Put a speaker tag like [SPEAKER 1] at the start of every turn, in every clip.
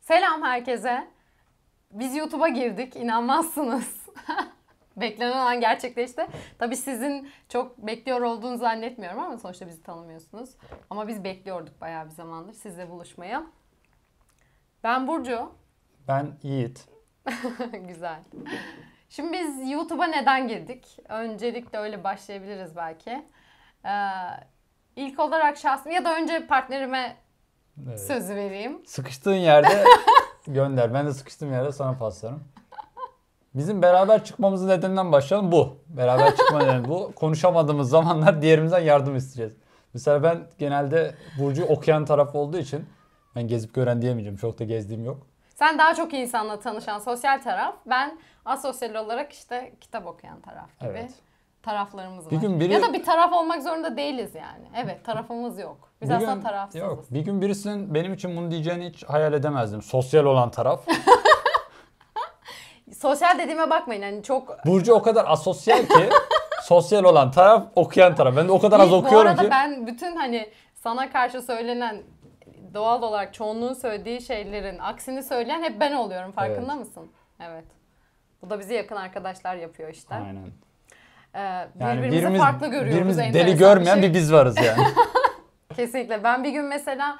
[SPEAKER 1] Selam herkese. Biz YouTube'a girdik. inanmazsınız. Beklenen an gerçekleşti. Tabii sizin çok bekliyor olduğunu zannetmiyorum ama sonuçta bizi tanımıyorsunuz. Ama biz bekliyorduk bayağı bir zamandır sizle buluşmaya. Ben Burcu.
[SPEAKER 2] Ben Yiğit.
[SPEAKER 1] Güzel. Şimdi biz YouTube'a neden girdik? Öncelikle öyle başlayabiliriz belki. Ee, ilk olarak şahsım ya da önce partnerime
[SPEAKER 2] Evet.
[SPEAKER 1] sözü vereyim.
[SPEAKER 2] Sıkıştığın yerde gönder. Ben de sıkıştığım yerde sana paslarım. Bizim beraber çıkmamızın nedeninden başlayalım bu. Beraber çıkma nedeni bu. Konuşamadığımız zamanlar diğerimizden yardım isteyeceğiz. Mesela ben genelde Burcu okuyan taraf olduğu için ben gezip gören diyemeyeceğim. Çok da gezdiğim yok.
[SPEAKER 1] Sen daha çok insanla tanışan sosyal taraf. Ben asosyal olarak işte kitap okuyan taraf gibi
[SPEAKER 2] Evet.
[SPEAKER 1] taraflarımız var.
[SPEAKER 2] Bir gün biri-
[SPEAKER 1] Ya da bir taraf olmak zorunda değiliz yani. Evet tarafımız yok. Biz
[SPEAKER 2] Bir
[SPEAKER 1] aslında
[SPEAKER 2] gün-
[SPEAKER 1] tarafsızız.
[SPEAKER 2] Yok. Bir gün birisinin benim için bunu diyeceğini hiç hayal edemezdim. Sosyal olan taraf.
[SPEAKER 1] Sosyal dediğime bakmayın hani çok...
[SPEAKER 2] Burcu o kadar asosyal ki sosyal olan taraf okuyan taraf. Ben de o kadar az
[SPEAKER 1] İyi, Bu
[SPEAKER 2] okuyorum
[SPEAKER 1] arada
[SPEAKER 2] ki.
[SPEAKER 1] ben bütün hani sana karşı söylenen doğal olarak çoğunluğun söylediği şeylerin aksini söyleyen hep ben oluyorum farkında mısın? Evet. Bu da bizi yakın arkadaşlar yapıyor işte.
[SPEAKER 2] Aynen.
[SPEAKER 1] Ee, birbirimizi farklı görüyoruz.
[SPEAKER 2] birimiz
[SPEAKER 1] enteresan
[SPEAKER 2] deli görmeyen
[SPEAKER 1] şey.
[SPEAKER 2] bir biz varız yani.
[SPEAKER 1] Kesinlikle. Ben bir gün mesela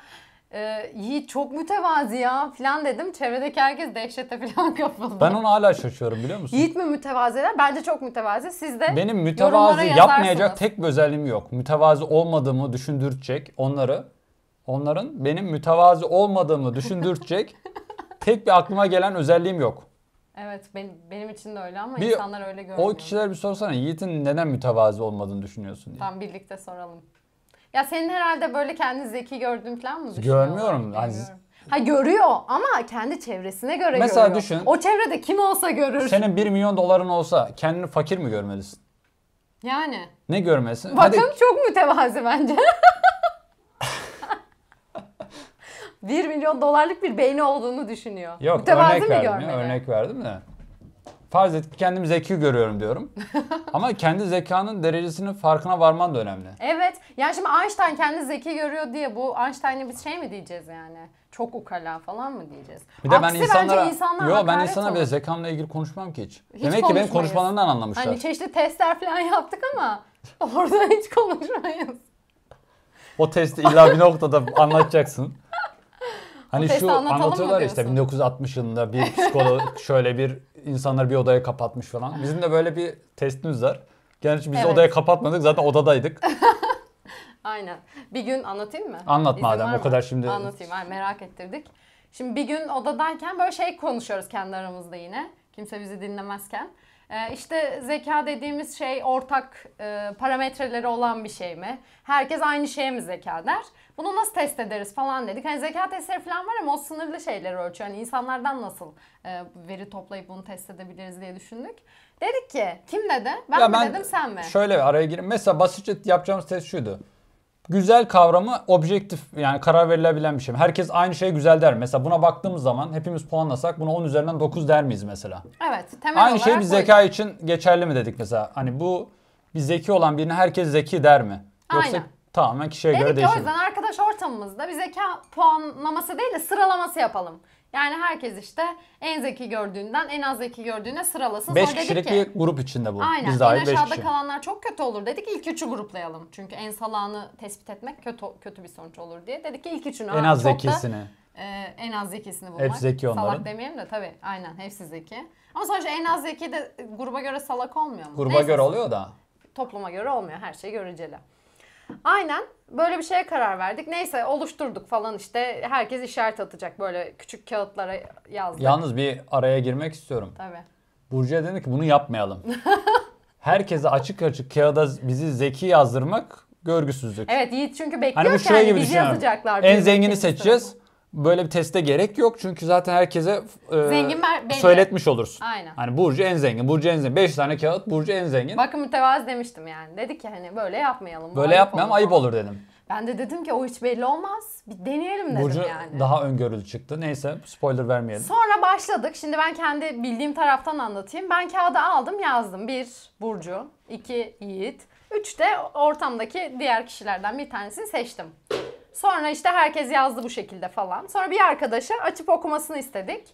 [SPEAKER 1] e, Yiğit çok mütevazi ya falan dedim. Çevredeki herkes dehşete falan kapıldı.
[SPEAKER 2] ben ona hala şaşıyorum biliyor musun?
[SPEAKER 1] Yiğit mi mütevaziler? Bence çok mütevazi. Siz de
[SPEAKER 2] Benim
[SPEAKER 1] yorumlara
[SPEAKER 2] mütevazi
[SPEAKER 1] yazarsınız.
[SPEAKER 2] yapmayacak tek bir özelliğim yok. Mütevazi olmadığımı düşündürtecek onları. Onların benim mütevazi olmadığımı düşündürtecek tek bir aklıma gelen özelliğim yok.
[SPEAKER 1] Evet benim, benim için de öyle ama
[SPEAKER 2] Bir-
[SPEAKER 1] insanlar öyle görmüyor.
[SPEAKER 2] O kişilere bir sorsana Yiğit'in neden mütevazi olmadığını düşünüyorsun diye.
[SPEAKER 1] Tamam birlikte soralım. Ya senin herhalde böyle kendini zeki gördüğün falan mı düşünüyorlar?
[SPEAKER 2] Görmüyorum. Hani-
[SPEAKER 1] Bilmiyorum. Ha görüyor ama kendi çevresine göre
[SPEAKER 2] Mesela
[SPEAKER 1] görüyor.
[SPEAKER 2] düşün.
[SPEAKER 1] O çevrede kim olsa görür.
[SPEAKER 2] Senin 1 milyon doların olsa kendini fakir mi görmelisin?
[SPEAKER 1] Yani.
[SPEAKER 2] Ne görmelisin?
[SPEAKER 1] Bakın
[SPEAKER 2] Hadi
[SPEAKER 1] çok mütevazi bence. 1 milyon dolarlık bir beyni olduğunu düşünüyor.
[SPEAKER 2] Yok
[SPEAKER 1] mütevazi
[SPEAKER 2] örnek
[SPEAKER 1] mi
[SPEAKER 2] verdim
[SPEAKER 1] görmeli?
[SPEAKER 2] ya, örnek verdim de. Farz et ki kendimi zeki görüyorum diyorum. Ama kendi zekanın derecesinin farkına varman da önemli.
[SPEAKER 1] Evet. Yani şimdi Einstein kendi zeki görüyor diye bu Einstein'e biz şey mi diyeceğiz yani? Çok ukala falan mı diyeceğiz?
[SPEAKER 2] Bir de ben
[SPEAKER 1] Aksi
[SPEAKER 2] insanlara,
[SPEAKER 1] bence insanlar
[SPEAKER 2] yo ben
[SPEAKER 1] hakaret
[SPEAKER 2] insanlara
[SPEAKER 1] olur.
[SPEAKER 2] bile zekamla ilgili konuşmam ki hiç.
[SPEAKER 1] Hiç
[SPEAKER 2] Demek ki benim
[SPEAKER 1] konuşmayız.
[SPEAKER 2] konuşmalarından anlamışlar.
[SPEAKER 1] Hani çeşitli testler falan yaptık ama orada hiç konuşmayız.
[SPEAKER 2] O testi illa bir noktada anlatacaksın. Hani
[SPEAKER 1] testi
[SPEAKER 2] şu
[SPEAKER 1] anlatalım mı
[SPEAKER 2] anlatıyorlar ya işte
[SPEAKER 1] diyorsun?
[SPEAKER 2] 1960 yılında bir psikolog şöyle bir insanları bir odaya kapatmış falan. Bizim de böyle bir testimiz var. Gerçi biz
[SPEAKER 1] Evet.
[SPEAKER 2] odaya kapatmadık zaten odadaydık.
[SPEAKER 1] Aynen. Bir gün anlatayım mı?
[SPEAKER 2] Anlat
[SPEAKER 1] İzin
[SPEAKER 2] madem,
[SPEAKER 1] var
[SPEAKER 2] o
[SPEAKER 1] mı?
[SPEAKER 2] kadar şimdi-
[SPEAKER 1] Anlatayım hayır, merak ettirdik. Şimdi bir gün odadayken böyle şey konuşuyoruz kendi aramızda yine. Kimse bizi dinlemezken. Ee, işte zeka dediğimiz şey ortak e, parametreleri olan bir şey mi? Herkes aynı şeye mi zeka der? Bunu nasıl test ederiz falan dedik. Hani zeka testleri falan var ama o sınırlı şeyleri ölçüyor. Hani insanlardan nasıl e, veri toplayıp bunu test edebiliriz diye düşündük. Dedik ki kim dedi? Ben
[SPEAKER 2] Ya
[SPEAKER 1] mi dedim sen mi?
[SPEAKER 2] Şöyle araya gireyim. Mesela basitçe yapacağımız test şuydu. Güzel kavramı objektif yani karar verilebilen bir şey. mi? Herkes aynı şeye güzel der. mi? Mesela buna baktığımız zaman hepimiz puanlasak buna 10 üzerinden 9 der miyiz mesela?
[SPEAKER 1] Evet temel
[SPEAKER 2] aynı şey
[SPEAKER 1] olarak
[SPEAKER 2] bir
[SPEAKER 1] buydu.
[SPEAKER 2] zeka için geçerli mi dedik mesela? Hani bu bir zeki olan birine herkes zeki der mi? Yoksa
[SPEAKER 1] Aynen.
[SPEAKER 2] tamamen kişiye
[SPEAKER 1] Dedik
[SPEAKER 2] göre
[SPEAKER 1] ki o
[SPEAKER 2] değişir. mi?
[SPEAKER 1] yüzden arkadaş ortamımızda bir zeka puanlaması değil de sıralaması yapalım. Yani herkes işte en zeki gördüğünden en az zeki gördüğüne sıralasın.
[SPEAKER 2] 5
[SPEAKER 1] Sonra dedik
[SPEAKER 2] kişilik
[SPEAKER 1] ki-
[SPEAKER 2] bir grup içinde bu.
[SPEAKER 1] Aynen.
[SPEAKER 2] Biz
[SPEAKER 1] en
[SPEAKER 2] dahil 5
[SPEAKER 1] aşağıda
[SPEAKER 2] kişi.
[SPEAKER 1] kalanlar çok kötü olur dedik. İlk üçü gruplayalım. Çünkü en salağını tespit etmek kötü kötü bir sonuç olur diye. Dedik ki ilk üçünü
[SPEAKER 2] en
[SPEAKER 1] abi
[SPEAKER 2] az
[SPEAKER 1] çok da-
[SPEAKER 2] zekisini.
[SPEAKER 1] ee, en az zekisini bulmak.
[SPEAKER 2] Hepsi zeki
[SPEAKER 1] Salak
[SPEAKER 2] onların.
[SPEAKER 1] demeyelim de tabii. Aynen hepsi zeki. Ama sonuçta en az zeki de gruba göre salak olmuyor mu?
[SPEAKER 2] Gruba
[SPEAKER 1] Neyse,
[SPEAKER 2] göre oluyor da.
[SPEAKER 1] topluma göre olmuyor. Her şey göreceli. Aynen böyle bir şeye karar verdik. Neyse oluşturduk falan işte. Herkes işaret atacak böyle küçük kağıtlara yazdık.
[SPEAKER 2] Yalnız bir araya girmek istiyorum.
[SPEAKER 1] Tabii.
[SPEAKER 2] Burcu'ya dedi ki bunu yapmayalım. Herkese açık açık kağıda bizi zeki yazdırmak görgüsüzlük.
[SPEAKER 1] Evet Yiğit çünkü bekliyor
[SPEAKER 2] hani bu
[SPEAKER 1] ki
[SPEAKER 2] şey
[SPEAKER 1] hani
[SPEAKER 2] gibi
[SPEAKER 1] bizi
[SPEAKER 2] düşünüyorum.
[SPEAKER 1] yazacaklar.
[SPEAKER 2] En
[SPEAKER 1] bizi
[SPEAKER 2] zengini
[SPEAKER 1] bekleyeceğiz.
[SPEAKER 2] seçeceğiz. Böyle bir teste gerek yok çünkü zaten herkese e,
[SPEAKER 1] Zengin ben- belli.
[SPEAKER 2] söyletmiş olursun.
[SPEAKER 1] Aynen.
[SPEAKER 2] Hani Burcu en zengin, Burcu en zengin. 5 tane kağıt Burcu en zengin.
[SPEAKER 1] Bakın mütevazı demiştim yani. Dedi ki hani böyle yapmayalım. bu
[SPEAKER 2] Böyle
[SPEAKER 1] ayıp
[SPEAKER 2] yapmayalım
[SPEAKER 1] olur.
[SPEAKER 2] ayıp olur dedim.
[SPEAKER 1] Ben de dedim ki o hiç belli olmaz. Bir deneyelim dedim
[SPEAKER 2] Burcu
[SPEAKER 1] yani.
[SPEAKER 2] daha öngörülü çıktı. Neyse spoiler vermeyelim.
[SPEAKER 1] Sonra başladık. Şimdi ben kendi bildiğim taraftan anlatayım. Ben kağıdı aldım yazdım. Bir Burcu, iki Yiğit, üç de ortamdaki diğer kişilerden bir tanesini seçtim. Sonra işte herkes yazdı bu şekilde falan. Sonra bir arkadaşa açıp okumasını istedik.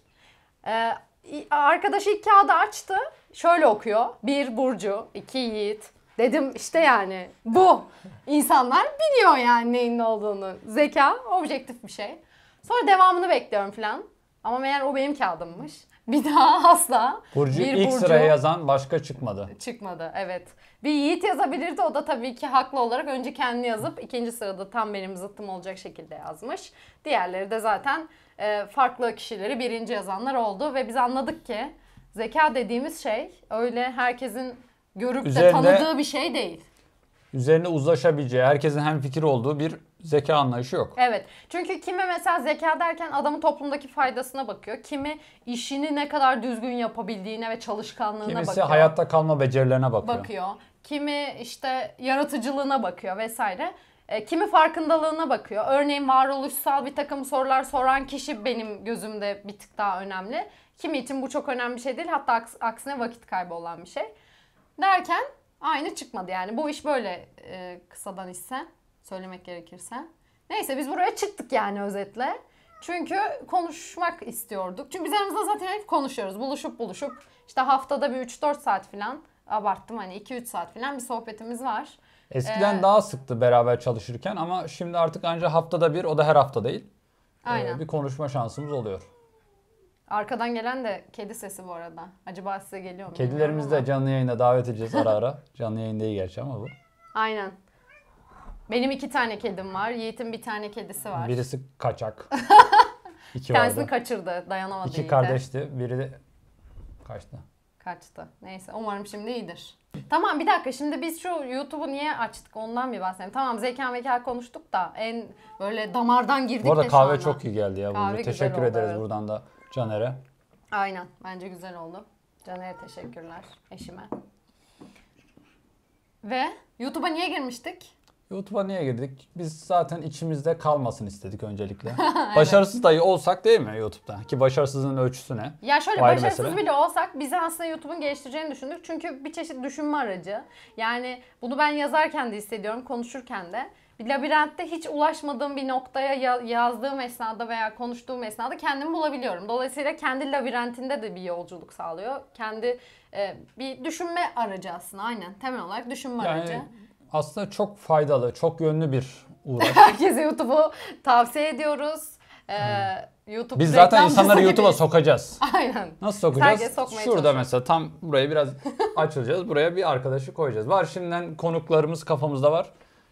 [SPEAKER 1] Ee, i- arkadaşı ilk kağıdı açtı. Şöyle okuyor. Bir Burcu, iki Yiğit. Dedim işte yani bu. İnsanlar biliyor yani neyin ne olduğunu. Zeka objektif bir şey. Sonra devamını bekliyorum falan. Ama meğer o benim kağıdımmış. Bir daha asla
[SPEAKER 2] Burcu
[SPEAKER 1] Bir
[SPEAKER 2] ilk
[SPEAKER 1] Burcu.
[SPEAKER 2] sıraya yazan başka çıkmadı.
[SPEAKER 1] çıkmadı. Evet. Bir Yiğit yazabilirdi. O da tabii ki haklı olarak önce kendi yazıp ikinci sırada tam benim zıttım olacak şekilde yazmış. Diğerleri de zaten e, farklı kişileri birinci yazanlar oldu ve biz anladık ki zeka dediğimiz şey öyle herkesin görüp de
[SPEAKER 2] Üzerine-
[SPEAKER 1] tanıdığı bir şey değil.
[SPEAKER 2] Üzerine uzlaşabileceği, herkesin hem fikir olduğu bir zeka anlayışı yok.
[SPEAKER 1] Evet. Çünkü kime mesela zeka derken adamın toplumdaki faydasına bakıyor. Kimi işini ne kadar düzgün yapabildiğine ve çalışkanlığına
[SPEAKER 2] Kimisi
[SPEAKER 1] bakıyor.
[SPEAKER 2] hayatta kalma becerilerine bakıyor.
[SPEAKER 1] bakıyor. Kimi işte yaratıcılığına bakıyor vesaire. E, kimi farkındalığına bakıyor. Örneğin varoluşsal bir takım sorular soran kişi benim gözümde bir tık daha önemli. Kimi için bu çok önemli bir şey değil. Hatta aks- aksine vakit kaybı olan bir şey. Derken aynı çıkmadı yani. Bu iş böyle e, kısadan ise söylemek gerekirse. Neyse biz buraya çıktık yani özetle. Çünkü konuşmak istiyorduk. Çünkü biz aramızda zaten hep konuşuyoruz. Buluşup buluşup işte haftada bir 3-4 saat falan abarttım hani 2-3 saat falan bir sohbetimiz var.
[SPEAKER 2] Eskiden
[SPEAKER 1] Ee,
[SPEAKER 2] daha sıktı beraber çalışırken ama şimdi artık ancak haftada bir, o da her hafta değil. Ee,
[SPEAKER 1] Aynen.
[SPEAKER 2] bir konuşma şansımız oluyor.
[SPEAKER 1] Arkadan gelen de kedi sesi bu arada. Acaba size geliyor mu? bilmiyorum
[SPEAKER 2] Kedilerimizi
[SPEAKER 1] ama.
[SPEAKER 2] de canlı yayına davet edeceğiz ara ara. canlı yayın değil gerçi ama bu.
[SPEAKER 1] Aynen. Benim iki tane kedim var. Yiğit'in bir tane kedisi var.
[SPEAKER 2] Birisi kaçak. İki
[SPEAKER 1] Kendisini
[SPEAKER 2] vardı.
[SPEAKER 1] kaçırdı. Dayanamadı
[SPEAKER 2] İki
[SPEAKER 1] Yiğit'e.
[SPEAKER 2] kardeşti. Biri de kaçtı.
[SPEAKER 1] Kaçtı. Neyse umarım şimdi iyidir. Tamam bir dakika şimdi biz şu YouTube'u niye açtık ondan bir bahsedelim. Tamam zeka meka konuştuk da en böyle damardan girdik
[SPEAKER 2] Bu arada
[SPEAKER 1] de şu
[SPEAKER 2] kahve
[SPEAKER 1] anda.
[SPEAKER 2] çok iyi geldi ya.
[SPEAKER 1] Kahve
[SPEAKER 2] Burcu.
[SPEAKER 1] güzel
[SPEAKER 2] Teşekkür
[SPEAKER 1] oldu,
[SPEAKER 2] ederiz
[SPEAKER 1] evet.
[SPEAKER 2] buradan da Caner'e.
[SPEAKER 1] Aynen bence güzel oldu. Caner'e teşekkürler eşime. Ve YouTube'a niye girmiştik?
[SPEAKER 2] YouTube'a niye girdik? Biz zaten içimizde kalmasın istedik öncelikle. Başarısız dahi olsak değil mi YouTube'da? Ki başarısızlığın ölçüsü ne?
[SPEAKER 1] Ya şöyle
[SPEAKER 2] O ayrı
[SPEAKER 1] başarısız
[SPEAKER 2] mesele.
[SPEAKER 1] bile olsak bizi aslında YouTube'un geliştireceğini düşündük. Çünkü bir çeşit düşünme aracı. Yani bunu ben yazarken de hissediyorum, konuşurken de. Bir labirentte hiç ulaşmadığım bir noktaya ya- yazdığım esnada veya konuştuğum esnada kendimi bulabiliyorum. Dolayısıyla kendi labirentinde de bir yolculuk sağlıyor. Kendi e, bir düşünme aracı aslında aynen. Temel olarak düşünme aracı.
[SPEAKER 2] Yani aslında çok faydalı, çok yönlü bir uğraş.
[SPEAKER 1] Herkese YouTube'u tavsiye ediyoruz. Ee, YouTube
[SPEAKER 2] Biz zaten
[SPEAKER 1] reklamcısı
[SPEAKER 2] insanları
[SPEAKER 1] gibi.
[SPEAKER 2] YouTube'a sokacağız.
[SPEAKER 1] Aynen.
[SPEAKER 2] Nasıl sokacağız?
[SPEAKER 1] Herkes sokmaya
[SPEAKER 2] Şurada
[SPEAKER 1] çalışıyor.
[SPEAKER 2] mesela tam buraya biraz açılacağız. Buraya bir arkadaşı koyacağız. Var şimdiden konuklarımız kafamızda var.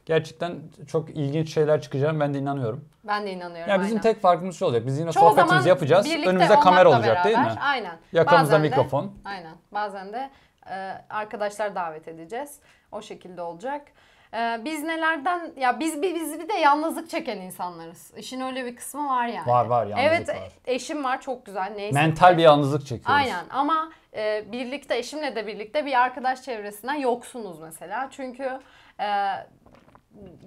[SPEAKER 2] Gerçekten çok ilginç şeyler çıkacağını ben de inanıyorum.
[SPEAKER 1] Ben de inanıyorum.
[SPEAKER 2] Ya bizim
[SPEAKER 1] aynen.
[SPEAKER 2] tek farkımız şu olacak. Biz yine
[SPEAKER 1] Çoğu zaman
[SPEAKER 2] sohbetimizi yapacağız.
[SPEAKER 1] birlikte
[SPEAKER 2] Önümüzde kamera
[SPEAKER 1] olmakla
[SPEAKER 2] olacak değil mi?
[SPEAKER 1] beraber, Aynen.
[SPEAKER 2] Yakamızda
[SPEAKER 1] Bazen de-
[SPEAKER 2] mikrofon.
[SPEAKER 1] aynen. Bazen de e, arkadaşlar davet edeceğiz. O şekilde olacak. E, biz nelerden ya biz bir biz bir de yalnızlık çeken insanlarız. İşin öyle bir kısmı var yani.
[SPEAKER 2] Var, var, yalnızlık
[SPEAKER 1] evet,
[SPEAKER 2] var.
[SPEAKER 1] eşim var çok güzel. Neyse.
[SPEAKER 2] Mental bir yalnızlık çekiyoruz.
[SPEAKER 1] Aynen ama e, birlikte eşimle de birlikte bir arkadaş çevresinden yoksunuz mesela. Çünkü e,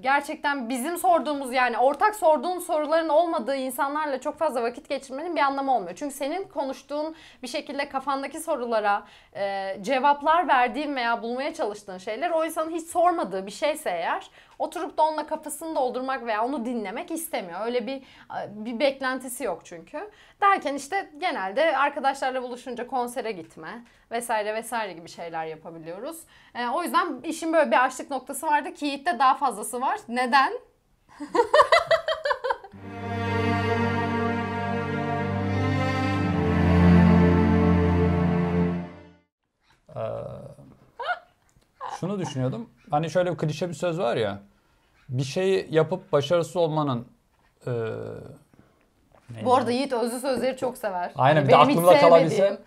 [SPEAKER 1] gerçekten bizim sorduğumuz yani ortak sorduğun soruların olmadığı insanlarla çok fazla vakit geçirmenin bir anlamı olmuyor. Çünkü senin konuştuğun bir şekilde kafandaki sorulara e, cevaplar verdiğin veya bulmaya çalıştığın şeyler o insanın hiç sormadığı bir şeyse eğer oturup da onunla kafasını doldurmak veya onu dinlemek istemiyor. Öyle bir bir beklentisi yok çünkü. Derken işte genelde arkadaşlarla buluşunca konsere gitme vesaire vesaire gibi şeyler yapabiliyoruz. E, o yüzden işin böyle bir açlık noktası vardı ki Yiğit'te daha fazlası var. Neden?
[SPEAKER 2] Şunu düşünüyordum. Hani şöyle bir klişe bir söz var ya. Bir şeyi yapıp başarısız olmanın eee, neydi?
[SPEAKER 1] Bu arada Yiğit özlü sözleri çok sever.
[SPEAKER 2] Aynen
[SPEAKER 1] Hani
[SPEAKER 2] bir de
[SPEAKER 1] benim hiç
[SPEAKER 2] aklımda kalabilse.
[SPEAKER 1] sevmediğim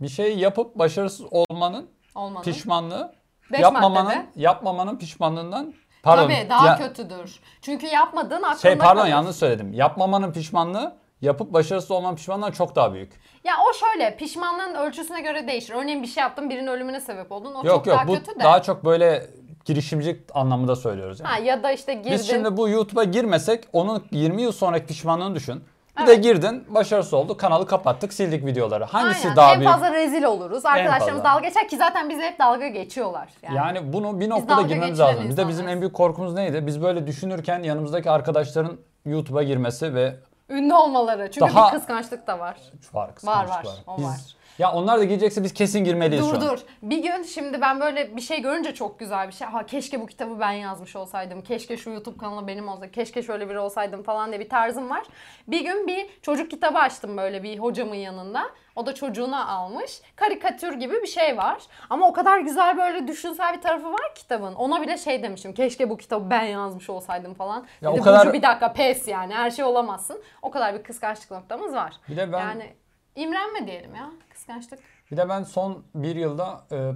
[SPEAKER 2] Bir şeyi yapıp başarısız olmanın
[SPEAKER 1] Olmadı.
[SPEAKER 2] pişmanlığı
[SPEAKER 1] Beş
[SPEAKER 2] yapmamanın
[SPEAKER 1] maddede.
[SPEAKER 2] yapmamanın pişmanlığından pardon.
[SPEAKER 1] Tabii daha
[SPEAKER 2] ya-
[SPEAKER 1] kötüdür. Çünkü yapmadığın aklında
[SPEAKER 2] Şey pardon
[SPEAKER 1] kalır.
[SPEAKER 2] yanlış söyledim. Yapmamanın pişmanlığı yapıp başarısız olmanın pişmanlığından çok daha büyük.
[SPEAKER 1] Ya o şöyle pişmanlığın ölçüsüne göre değişir. Örneğin bir şey yaptın birinin ölümüne sebep oldun. O
[SPEAKER 2] yok
[SPEAKER 1] çok
[SPEAKER 2] yok
[SPEAKER 1] daha
[SPEAKER 2] bu
[SPEAKER 1] kötü de.
[SPEAKER 2] daha çok böyle girişimci anlamında söylüyoruz yani.
[SPEAKER 1] Ha, ya da işte girdin.
[SPEAKER 2] Biz şimdi bu YouTube'a girmesek onun 20 yıl sonraki pişmanlığını düşün. Bir de girdin başarısı oldu kanalı kapattık sildik videoları. Hangisi
[SPEAKER 1] Aynen.
[SPEAKER 2] daha
[SPEAKER 1] en
[SPEAKER 2] büyük?
[SPEAKER 1] fazla rezil oluruz. Arkadaşlarımız
[SPEAKER 2] fazla.
[SPEAKER 1] dalga geçer ki zaten bize hep dalga geçiyorlar. Yani,
[SPEAKER 2] Yani bunu bir
[SPEAKER 1] dalga
[SPEAKER 2] noktada girmemiz
[SPEAKER 1] geçiren
[SPEAKER 2] lazım. Bir de bizim
[SPEAKER 1] insanlarız.
[SPEAKER 2] en büyük korkumuz neydi? Biz böyle düşünürken yanımızdaki arkadaşların YouTube'a girmesi ve
[SPEAKER 1] ünlü olmaları. Çünkü
[SPEAKER 2] Daha-
[SPEAKER 1] bir kıskançlık da var.
[SPEAKER 2] var
[SPEAKER 1] Var,
[SPEAKER 2] kıskançlık
[SPEAKER 1] var. O
[SPEAKER 2] Biz-
[SPEAKER 1] var.
[SPEAKER 2] Ya onlar da girecekse biz kesin girmeliyiz şu
[SPEAKER 1] Dur
[SPEAKER 2] an.
[SPEAKER 1] dur. Bir gün şimdi ben böyle bir şey görünce çok güzel bir şey. Ha keşke bu kitabı ben yazmış olsaydım. Keşke şu YouTube kanalı benim olsa. Keşke şöyle biri olsaydım falan diye bir tarzım var. Bir gün bir çocuk kitabı açtım böyle bir hocamın yanında. O da çocuğuna almış. Karikatür gibi bir şey var. Ama o kadar güzel böyle düşünsel bir tarafı var kitabın. Ona bile şey demişim. Keşke bu kitabı ben yazmış olsaydım falan.
[SPEAKER 2] Ya
[SPEAKER 1] Dedi,
[SPEAKER 2] o kadar-
[SPEAKER 1] "Burcu, bir dakika pes yani. Her şey olamazsın. O kadar bir kıskançlık noktamız var.
[SPEAKER 2] Bir de ben
[SPEAKER 1] Yani imrenme diyelim ya. Kıskançlık.
[SPEAKER 2] bir de ben son bir yılda e,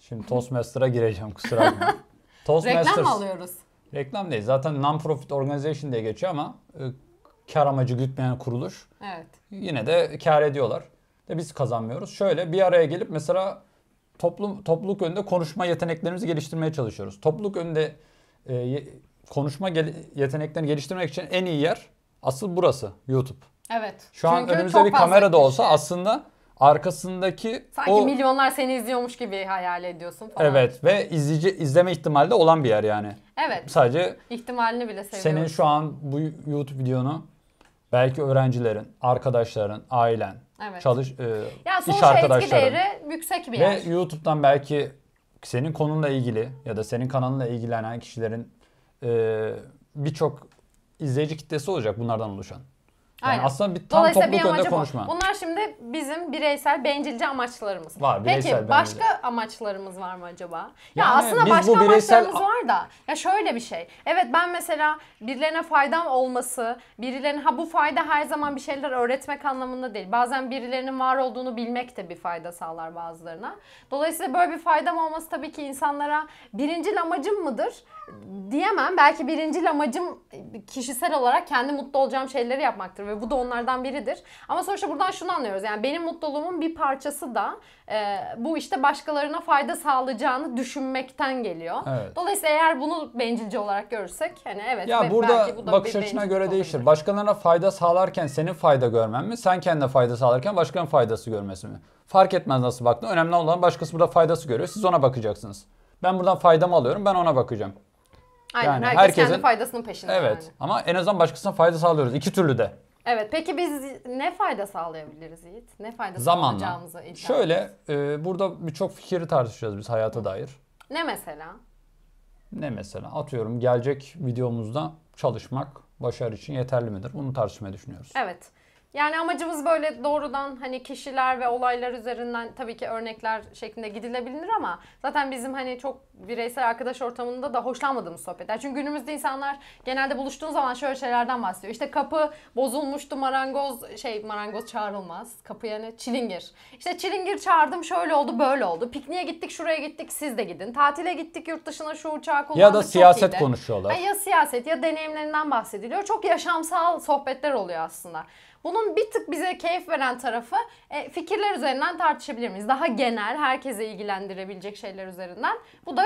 [SPEAKER 2] şimdi Toastmaster'a gireceğim kusura bakma.
[SPEAKER 1] Reklam mı
[SPEAKER 2] Toastmasters
[SPEAKER 1] alıyoruz?
[SPEAKER 2] reklam değil. Zaten non-profit organization diye geçiyor ama e, kar amacı gütmeyen kuruluş.
[SPEAKER 1] Evet.
[SPEAKER 2] yine de kâr ediyorlar. De biz kazanmıyoruz. Şöyle bir araya gelip mesela toplum topluluk önünde konuşma yeteneklerimizi geliştirmeye çalışıyoruz. Topluluk önünde e, ye- konuşma gel- yeteneklerini geliştirmek için en iyi yer asıl burası YouTube.
[SPEAKER 1] Evet.
[SPEAKER 2] Şu an
[SPEAKER 1] Çünkü
[SPEAKER 2] önümüzde
[SPEAKER 1] çok
[SPEAKER 2] bir
[SPEAKER 1] fazla
[SPEAKER 2] kamera da
[SPEAKER 1] kişi.
[SPEAKER 2] olsa aslında arkasındaki
[SPEAKER 1] Sanki
[SPEAKER 2] o
[SPEAKER 1] milyonlar seni izliyormuş gibi hayal ediyorsun falan.
[SPEAKER 2] evet ve izleyici izleme ihtimali de olan bir yer yani.
[SPEAKER 1] Evet.
[SPEAKER 2] Sadece
[SPEAKER 1] İhtimalini bile
[SPEAKER 2] Senin
[SPEAKER 1] seviyorum.
[SPEAKER 2] şu an bu YouTube videonu belki öğrencilerin, arkadaşların, ailen,
[SPEAKER 1] Evet.
[SPEAKER 2] çalış e,
[SPEAKER 1] ya
[SPEAKER 2] iş
[SPEAKER 1] sonuçta etki
[SPEAKER 2] arkadaşların
[SPEAKER 1] değeri yüksek bir
[SPEAKER 2] ve
[SPEAKER 1] yer.
[SPEAKER 2] YouTube'dan belki senin konunla ilgili ya da senin kanalınla ilgilenen kişilerin e, birçok izleyici kitlesi olacak bunlardan oluşan. Yani
[SPEAKER 1] Aynen.
[SPEAKER 2] aslında bir tam
[SPEAKER 1] Dolayısıyla
[SPEAKER 2] topluluk
[SPEAKER 1] bir
[SPEAKER 2] önünde
[SPEAKER 1] amacı bu.
[SPEAKER 2] konuşma.
[SPEAKER 1] Bunlar şimdi bizim bireysel bencilce amaçlarımız.
[SPEAKER 2] Var, bireysel
[SPEAKER 1] Peki
[SPEAKER 2] bencilce.
[SPEAKER 1] başka amaçlarımız var mı acaba? ya
[SPEAKER 2] Yani
[SPEAKER 1] aslında
[SPEAKER 2] biz bu
[SPEAKER 1] başka
[SPEAKER 2] bireysel-
[SPEAKER 1] amaçlarımız var da. Ya şöyle bir şey. Evet ben mesela birilerine faydam olması, birilerine ha bu fayda her zaman bir şeyler öğretmek anlamında değil. Bazen birilerinin var olduğunu bilmek de bir fayda sağlar bazılarına. Dolayısıyla böyle bir faydam olması tabii ki insanlara birincil amacım mıdır? diyemem. Belki birincil amacım e, kişisel olarak kendi mutlu olacağım şeyleri yapmaktır ve bu da onlardan biridir. Ama sonuçta buradan şunu anlıyoruz. Yani benim mutluluğumun bir parçası da e, bu işte başkalarına fayda sağlayacağını düşünmekten geliyor.
[SPEAKER 2] Evet.
[SPEAKER 1] Dolayısıyla eğer bunu bencilce olarak görürsek hani evet
[SPEAKER 2] Ya
[SPEAKER 1] be-
[SPEAKER 2] burada
[SPEAKER 1] belki bu da
[SPEAKER 2] bakış
[SPEAKER 1] bir
[SPEAKER 2] açına
[SPEAKER 1] bencillik
[SPEAKER 2] göre
[SPEAKER 1] olabilir.
[SPEAKER 2] değişir. Başkalarına fayda sağlarken senin fayda görmen mi? Sen kendine fayda sağlarken başkalarının faydası görmesi mi? Fark etmez nasıl baktın. Önemli olan başkası burada faydası görüyor. Siz ona bakacaksınız. Ben buradan faydamı alıyorum. Ben ona bakacağım.
[SPEAKER 1] Aynen
[SPEAKER 2] Yani
[SPEAKER 1] herkes kendi
[SPEAKER 2] herkesin-
[SPEAKER 1] faydasının peşinde.
[SPEAKER 2] Evet.
[SPEAKER 1] yani.
[SPEAKER 2] Ama en azından başkasına fayda sağlıyoruz. İki türlü de.
[SPEAKER 1] Evet. Peki biz ne fayda sağlayabiliriz Yiğit? Ne fayda
[SPEAKER 2] Zamanla.
[SPEAKER 1] sağlayacağımızı iddia
[SPEAKER 2] Şöyle e, burada birçok fikri tartışacağız biz hayata dair.
[SPEAKER 1] Ne mesela?
[SPEAKER 2] Ne mesela? Atıyorum gelecek videomuzda çalışmak başarı için yeterli midir? Bunu tartışmayı düşünüyoruz.
[SPEAKER 1] Evet. Yani amacımız böyle doğrudan hani kişiler ve olaylar üzerinden tabii ki örnekler şeklinde gidilebilir ama zaten bizim hani çok bireysel arkadaş ortamında da hoşlanmadığımız sohbetler. Çünkü günümüzde insanlar genelde buluştuğun zaman şöyle şeylerden bahsediyor. İşte kapı bozulmuştu marangoz şey marangoz çağrılmaz. Kapıya ne? Çilingir. İşte çilingir çağırdım şöyle oldu böyle oldu. Pikniğe gittik şuraya gittik siz de gidin. Tatile gittik yurt dışına şu uçağı kullandık.
[SPEAKER 2] Ya da
[SPEAKER 1] çok
[SPEAKER 2] siyaset
[SPEAKER 1] iyiydi.
[SPEAKER 2] konuşuyorlar.
[SPEAKER 1] Ya siyaset ya deneyimlerinden bahsediliyor. Çok yaşamsal sohbetler oluyor aslında. Bunun bir tık bize keyif veren tarafı e, fikirler üzerinden tartışabilir miyiz? Daha genel, herkese ilgilendirebilecek şeyler üzerinden. Bu da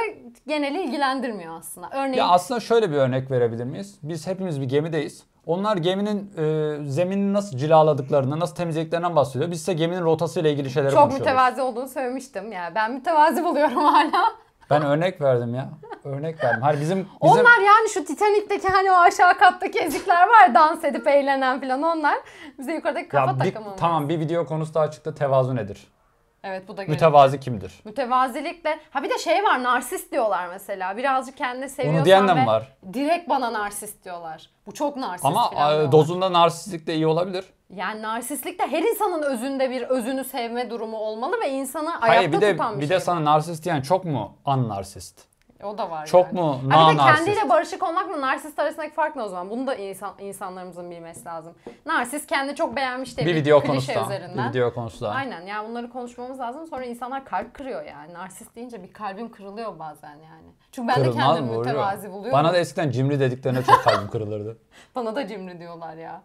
[SPEAKER 1] geneli ilgilendirmiyor aslında. Örneğin
[SPEAKER 2] Ya aslında şöyle bir örnek verebilir miyiz? Biz hepimiz bir gemideyiz. Onlar geminin e, zeminini nasıl cilaladıklarını, nasıl temizlediklerinden bahsediyor. Biz ise geminin rotasıyla ilgili şeyleri
[SPEAKER 1] çok
[SPEAKER 2] konuşuyoruz.
[SPEAKER 1] mütevazi olduğunu söylemiştim. Yani ben mütevazi buluyorum hala.
[SPEAKER 2] Ben örnek verdim ya. Örnek verdim. Hani bizim bizim
[SPEAKER 1] Onlar yani şu Titanik'teki hani o aşağı kattaki ezikler var ya, dans edip eğlenen falan onlar. Bize yukarıdaki kafa
[SPEAKER 2] ya bir,
[SPEAKER 1] takımı.
[SPEAKER 2] tamam bir video konusu daha çıktı. Tevazu nedir?
[SPEAKER 1] Evet bu da geliyor.
[SPEAKER 2] Mütevazi kimdir?
[SPEAKER 1] Mütevazilikle. Ha bir de şey var narsist diyorlar mesela. Birazcık kendini seviyorsan
[SPEAKER 2] diyen de mi
[SPEAKER 1] ve
[SPEAKER 2] var? Direkt
[SPEAKER 1] Direkt bana narsist diyorlar. Bu çok narsist
[SPEAKER 2] Ama
[SPEAKER 1] falan
[SPEAKER 2] e,
[SPEAKER 1] diyorlar.
[SPEAKER 2] dozunda narsistlik de iyi olabilir.
[SPEAKER 1] Yani narsistlik de her insanın özünde bir özünü sevme durumu olmalı ve insanı ayakta
[SPEAKER 2] Hayır bir de
[SPEAKER 1] tutan bir,
[SPEAKER 2] bir
[SPEAKER 1] şey.
[SPEAKER 2] de sana narsist diyen çok mu an narsist?
[SPEAKER 1] o da var
[SPEAKER 2] Çok
[SPEAKER 1] yani.
[SPEAKER 2] mu
[SPEAKER 1] Ha
[SPEAKER 2] na
[SPEAKER 1] bir de
[SPEAKER 2] narsist?
[SPEAKER 1] kendiyle barışık olmakla narsist arasındaki fark ne o zaman? Bunu da insan, insanlarımızın bilmesi lazım. Narsist kendini çok beğenmiş diye
[SPEAKER 2] Bir video
[SPEAKER 1] klişe
[SPEAKER 2] konusu daha. Bir
[SPEAKER 1] üzerinden.
[SPEAKER 2] video konusu daha.
[SPEAKER 1] Aynen ya bunları konuşmamız lazım. Sonra insanlar kalp kırıyor yani. Narsist deyince bir kalbim kırılıyor bazen yani. Çünkü ben de
[SPEAKER 2] Kırılmaz
[SPEAKER 1] kendimi
[SPEAKER 2] mı? Vuruyor.
[SPEAKER 1] mütevazi buluyorum.
[SPEAKER 2] Bana da eskiden cimri dediklerine çok kalbim kırılırdı.
[SPEAKER 1] Bana da cimri diyorlar ya.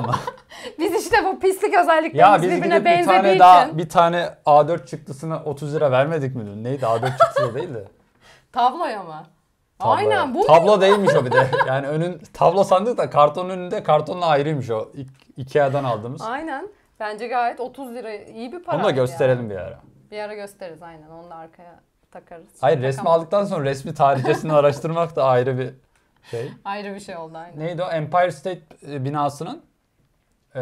[SPEAKER 2] mı?
[SPEAKER 1] Biz işte bu pislik özelliklerimiz
[SPEAKER 2] ya biz
[SPEAKER 1] birbirine
[SPEAKER 2] gidip bir
[SPEAKER 1] benzediği
[SPEAKER 2] tane
[SPEAKER 1] için.
[SPEAKER 2] daha bir tane A4 çıktısına 30 lira vermedik mi? dün? Neydi A4 çıktısı da değil de.
[SPEAKER 1] Tabloya mı?
[SPEAKER 2] Tablo.
[SPEAKER 1] Aynen, bu mu?
[SPEAKER 2] Tablo değilmiş o bir de. Yani önün tablo sandık da kartonun önünde kartonla ayrıymış o. İk- Ikea'dan aldığımız.
[SPEAKER 1] Aynen. Bence gayet 30 lira iyi bir para.
[SPEAKER 2] Onu da
[SPEAKER 1] yani.
[SPEAKER 2] gösterelim bir ara.
[SPEAKER 1] Bir ara gösteririz aynen. Onu da arkaya takarız.
[SPEAKER 2] Hayır
[SPEAKER 1] Şimdi
[SPEAKER 2] resmi
[SPEAKER 1] takamadık.
[SPEAKER 2] aldıktan sonra resmi tarihçesini araştırmak da ayrı bir şey.
[SPEAKER 1] Ayrı bir şey oldu aynen.
[SPEAKER 2] Neydi o? Empire State e, binasının e,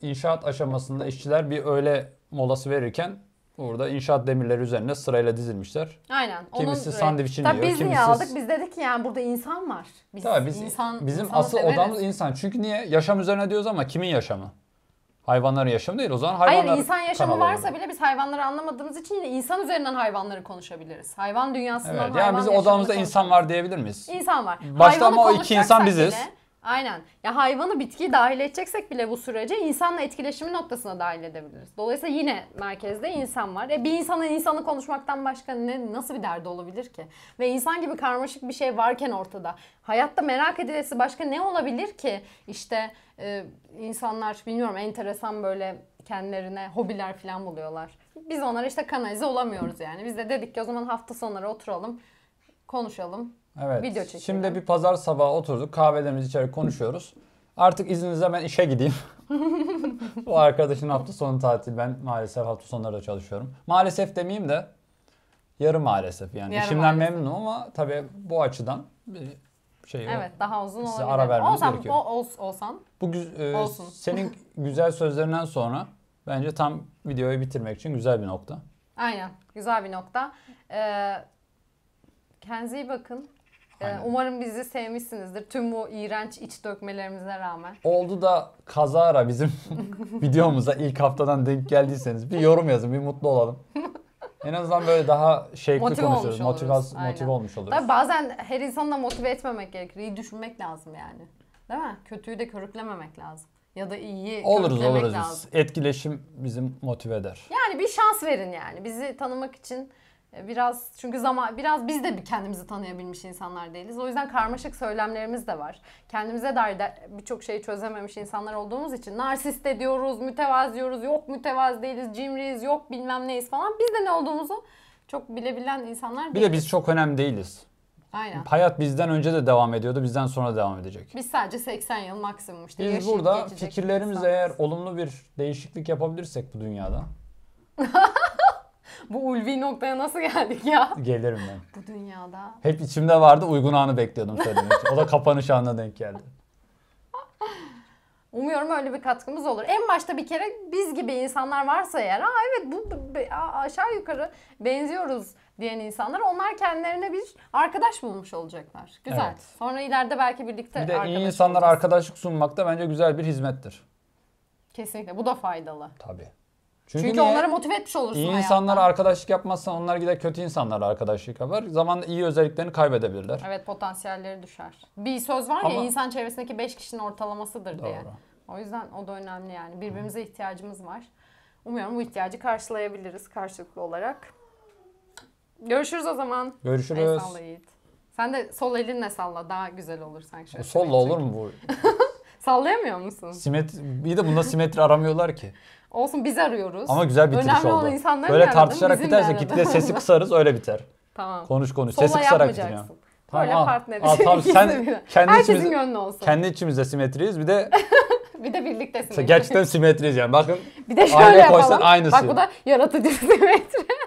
[SPEAKER 2] inşaat aşamasında işçiler bir öğle molası verirken orada inşaat demirleri üzerine sırayla dizilmişler.
[SPEAKER 1] Aynen.
[SPEAKER 2] Kimisi
[SPEAKER 1] Onun-
[SPEAKER 2] sandviçini
[SPEAKER 1] Tabii
[SPEAKER 2] yiyor,
[SPEAKER 1] biz
[SPEAKER 2] kimisi-
[SPEAKER 1] niye aldık? Biz dedik ki yani burada insan var. Biz,
[SPEAKER 2] Tabii biz,
[SPEAKER 1] insan,
[SPEAKER 2] bizim
[SPEAKER 1] insanı
[SPEAKER 2] asıl
[SPEAKER 1] severiz.
[SPEAKER 2] odamız insan. Çünkü niye? Yaşam üzerine diyoruz ama kimin yaşamı? Hayvanların yaşamı değil. O zaman hayvanlar
[SPEAKER 1] Hayır insan yaşamı
[SPEAKER 2] kanalı
[SPEAKER 1] varsa
[SPEAKER 2] olur.
[SPEAKER 1] bile biz hayvanları anlamadığımız için yine insan üzerinden hayvanları konuşabiliriz. Hayvan dünyasından
[SPEAKER 2] Evet.
[SPEAKER 1] hayvan
[SPEAKER 2] Yani bizim
[SPEAKER 1] yaşamını
[SPEAKER 2] odamızda insan var diyebilir miyiz?
[SPEAKER 1] konuş- İnsan var.
[SPEAKER 2] Başta ama o iki
[SPEAKER 1] konuşacaksak
[SPEAKER 2] insan biziz.
[SPEAKER 1] bile- aynen. Ya hayvanı bitkiyi dahil edeceksek bile bu sürece insanla etkileşimi noktasına dahil edebiliriz. Dolayısıyla yine merkezde insan var. E bir insanın insanı konuşmaktan başka ne nasıl bir derdi olabilir ki? Ve insan gibi karmaşık bir şey varken ortada. Hayatta merak edilesi başka ne olabilir ki? İşte e, insanlar bilmiyorum enteresan böyle kendilerine hobiler falan buluyorlar. Biz onlara işte kanalize olamıyoruz yani. Biz de dedik ki o zaman hafta sonları oturalım, konuşalım.
[SPEAKER 2] Evet.
[SPEAKER 1] Video çekelim.
[SPEAKER 2] Şimdi bir pazar sabahı oturduk. Kahvelerimizi içerek konuşuyoruz. Artık izninizle ben işe gideyim. Bu arkadaşın hafta sonu tatil. Ben maalesef hafta sonları da çalışıyorum. Maalesef demeyeyim de yarı maalesef yani.
[SPEAKER 1] Yarı
[SPEAKER 2] işimden
[SPEAKER 1] maalesef.
[SPEAKER 2] memnunum ama tabii bu açıdan bir şey yok.
[SPEAKER 1] Evet, daha uzun
[SPEAKER 2] Size
[SPEAKER 1] olabilir.
[SPEAKER 2] ara vermemiz
[SPEAKER 1] Olsam-
[SPEAKER 2] gerekiyor.
[SPEAKER 1] o- ols- olsan
[SPEAKER 2] Bu güz- e,
[SPEAKER 1] Olsun.
[SPEAKER 2] senin güzel sözlerinden sonra bence tam videoyu bitirmek için güzel bir nokta.
[SPEAKER 1] Aynen. Güzel bir nokta. Ee, kendinize iyi bakın. Ee,
[SPEAKER 2] Aynen.
[SPEAKER 1] umarım bizi sevmişsinizdir. Tüm bu iğrenç iç dökmelerimize rağmen.
[SPEAKER 2] Oldu da kazara bizim videomuza ilk haftadan denk geldiyseniz bir yorum yazın, bir mutlu olalım. En azından böyle daha şevkli
[SPEAKER 1] Motive olmuş
[SPEAKER 2] konuşuyoruz.
[SPEAKER 1] oluruz,
[SPEAKER 2] Motivas,
[SPEAKER 1] aynen.
[SPEAKER 2] motive olmuş oluruz.
[SPEAKER 1] Tabii bazen her insanı da motive etmemek gerekir. İyi düşünmek lazım yani. Değil mi? Kötüyü de körüklememek lazım. Ya da iyiyi
[SPEAKER 2] oluruz
[SPEAKER 1] körüklemek
[SPEAKER 2] oluruz biz.
[SPEAKER 1] lazım.
[SPEAKER 2] Etkileşim bizi motive eder.
[SPEAKER 1] Yani bir şans verin yani. Bizi tanımak için e, biraz çünkü zaman biraz biz de bir kendimizi tanıyabilmiş insanlar değiliz. O yüzden karmaşık söylemlerimiz de var. Kendimize dair de birçok şeyi çözememiş insanlar olduğumuz için narsist de diyoruz, mütevaz diyoruz, yok mütevaz değiliz, cimriyiz, yok bilmem neyiz falan. Biz de ne olduğumuzu çok bilebilen insanlar
[SPEAKER 2] Bir
[SPEAKER 1] değil.
[SPEAKER 2] de biz çok önemli değiliz.
[SPEAKER 1] Aynen.
[SPEAKER 2] Hayat bizden önce de devam ediyordu, bizden sonra devam edecek.
[SPEAKER 1] Biz sadece 80 yıl maksimum işte
[SPEAKER 2] Biz
[SPEAKER 1] yaşayıp
[SPEAKER 2] burada
[SPEAKER 1] geçecek
[SPEAKER 2] fikirlerimiz
[SPEAKER 1] insan.
[SPEAKER 2] eğer olumlu bir değişiklik yapabilirsek bu dünyada
[SPEAKER 1] Bu ulvi noktaya nasıl geldik ya?
[SPEAKER 2] gelirim ben.
[SPEAKER 1] Bu dünyada
[SPEAKER 2] Hep içimde vardı uygun anı bekliyordum söylemek için. O da kapanış anına denk geldi.
[SPEAKER 1] Umuyorum öyle bir katkımız olur. En başta bir kere biz gibi insanlar varsa eğer, aa evet bu bu- be- a- aşağı yukarı benziyoruz diyen insanlar onlar kendilerine bir arkadaş bulmuş olacaklar. Güzel.
[SPEAKER 2] Evet.
[SPEAKER 1] Sonra ileride belki birlikte
[SPEAKER 2] Bir de iyi
[SPEAKER 1] arkadaş
[SPEAKER 2] insanlara
[SPEAKER 1] oluruz.
[SPEAKER 2] arkadaşlık sunmak da bence güzel bir hizmettir.
[SPEAKER 1] Kesinlikle bu da faydalı.
[SPEAKER 2] Tabii. Çünkü,
[SPEAKER 1] Çünkü,
[SPEAKER 2] niye?
[SPEAKER 1] onları motive etmiş olursun
[SPEAKER 2] iyi
[SPEAKER 1] hayatta.
[SPEAKER 2] insanlara arkadaşlık yapmazsan onlar gider kötü insanlara arkadaşlık yapar. Zamanla iyi özelliklerini kaybedebilirler.
[SPEAKER 1] Evet potansiyelleri düşer. Bir söz var ya
[SPEAKER 2] Ama-
[SPEAKER 1] insan çevresindeki 5 kişinin ortalamasıdır diye.
[SPEAKER 2] Doğru.
[SPEAKER 1] O yüzden o da önemli yani. Birbirimize ihtiyacımız var. Umuyorum bu ihtiyacı karşılayabiliriz karşılıklı olarak. Görüşürüz o zaman. El
[SPEAKER 2] Görüşürüz.
[SPEAKER 1] salla Yiğit. Sen de sol elinle salla daha güzel olur sanki. şöyle.
[SPEAKER 2] Bu solla olur mu bu?
[SPEAKER 1] Sallayamıyor musun?
[SPEAKER 2] Simetri, bir de bunda simetri aramıyorlar ki.
[SPEAKER 1] Olsun biz arıyoruz.
[SPEAKER 2] Ama güzel bitiriş
[SPEAKER 1] Önemli
[SPEAKER 2] oldu.
[SPEAKER 1] olan insanların
[SPEAKER 2] Böyle
[SPEAKER 1] aradın,
[SPEAKER 2] tartışarak
[SPEAKER 1] bizim
[SPEAKER 2] bitersek
[SPEAKER 1] aradın.
[SPEAKER 2] kitle sesi kısarız öyle biter.
[SPEAKER 1] Tamam.
[SPEAKER 2] Konuş konuş.
[SPEAKER 1] Sola
[SPEAKER 2] sesi kısarak bitirin. ya.
[SPEAKER 1] yapmayacaksın.
[SPEAKER 2] Tamam,
[SPEAKER 1] Böyle
[SPEAKER 2] al.
[SPEAKER 1] partneri.
[SPEAKER 2] Al, tamam, sen kendi
[SPEAKER 1] Herkesin
[SPEAKER 2] içimizi-
[SPEAKER 1] gönlü olsun.
[SPEAKER 2] Kendi içimizde simetriyiz. Bir de
[SPEAKER 1] Bir de birliktesin.
[SPEAKER 2] gerçekten simetriyiz yani. Bakın
[SPEAKER 1] Bir de
[SPEAKER 2] Aynaya
[SPEAKER 1] şöyle yapalım.
[SPEAKER 2] koysan aynısı.
[SPEAKER 1] Bak bu da yaratıcı simetri.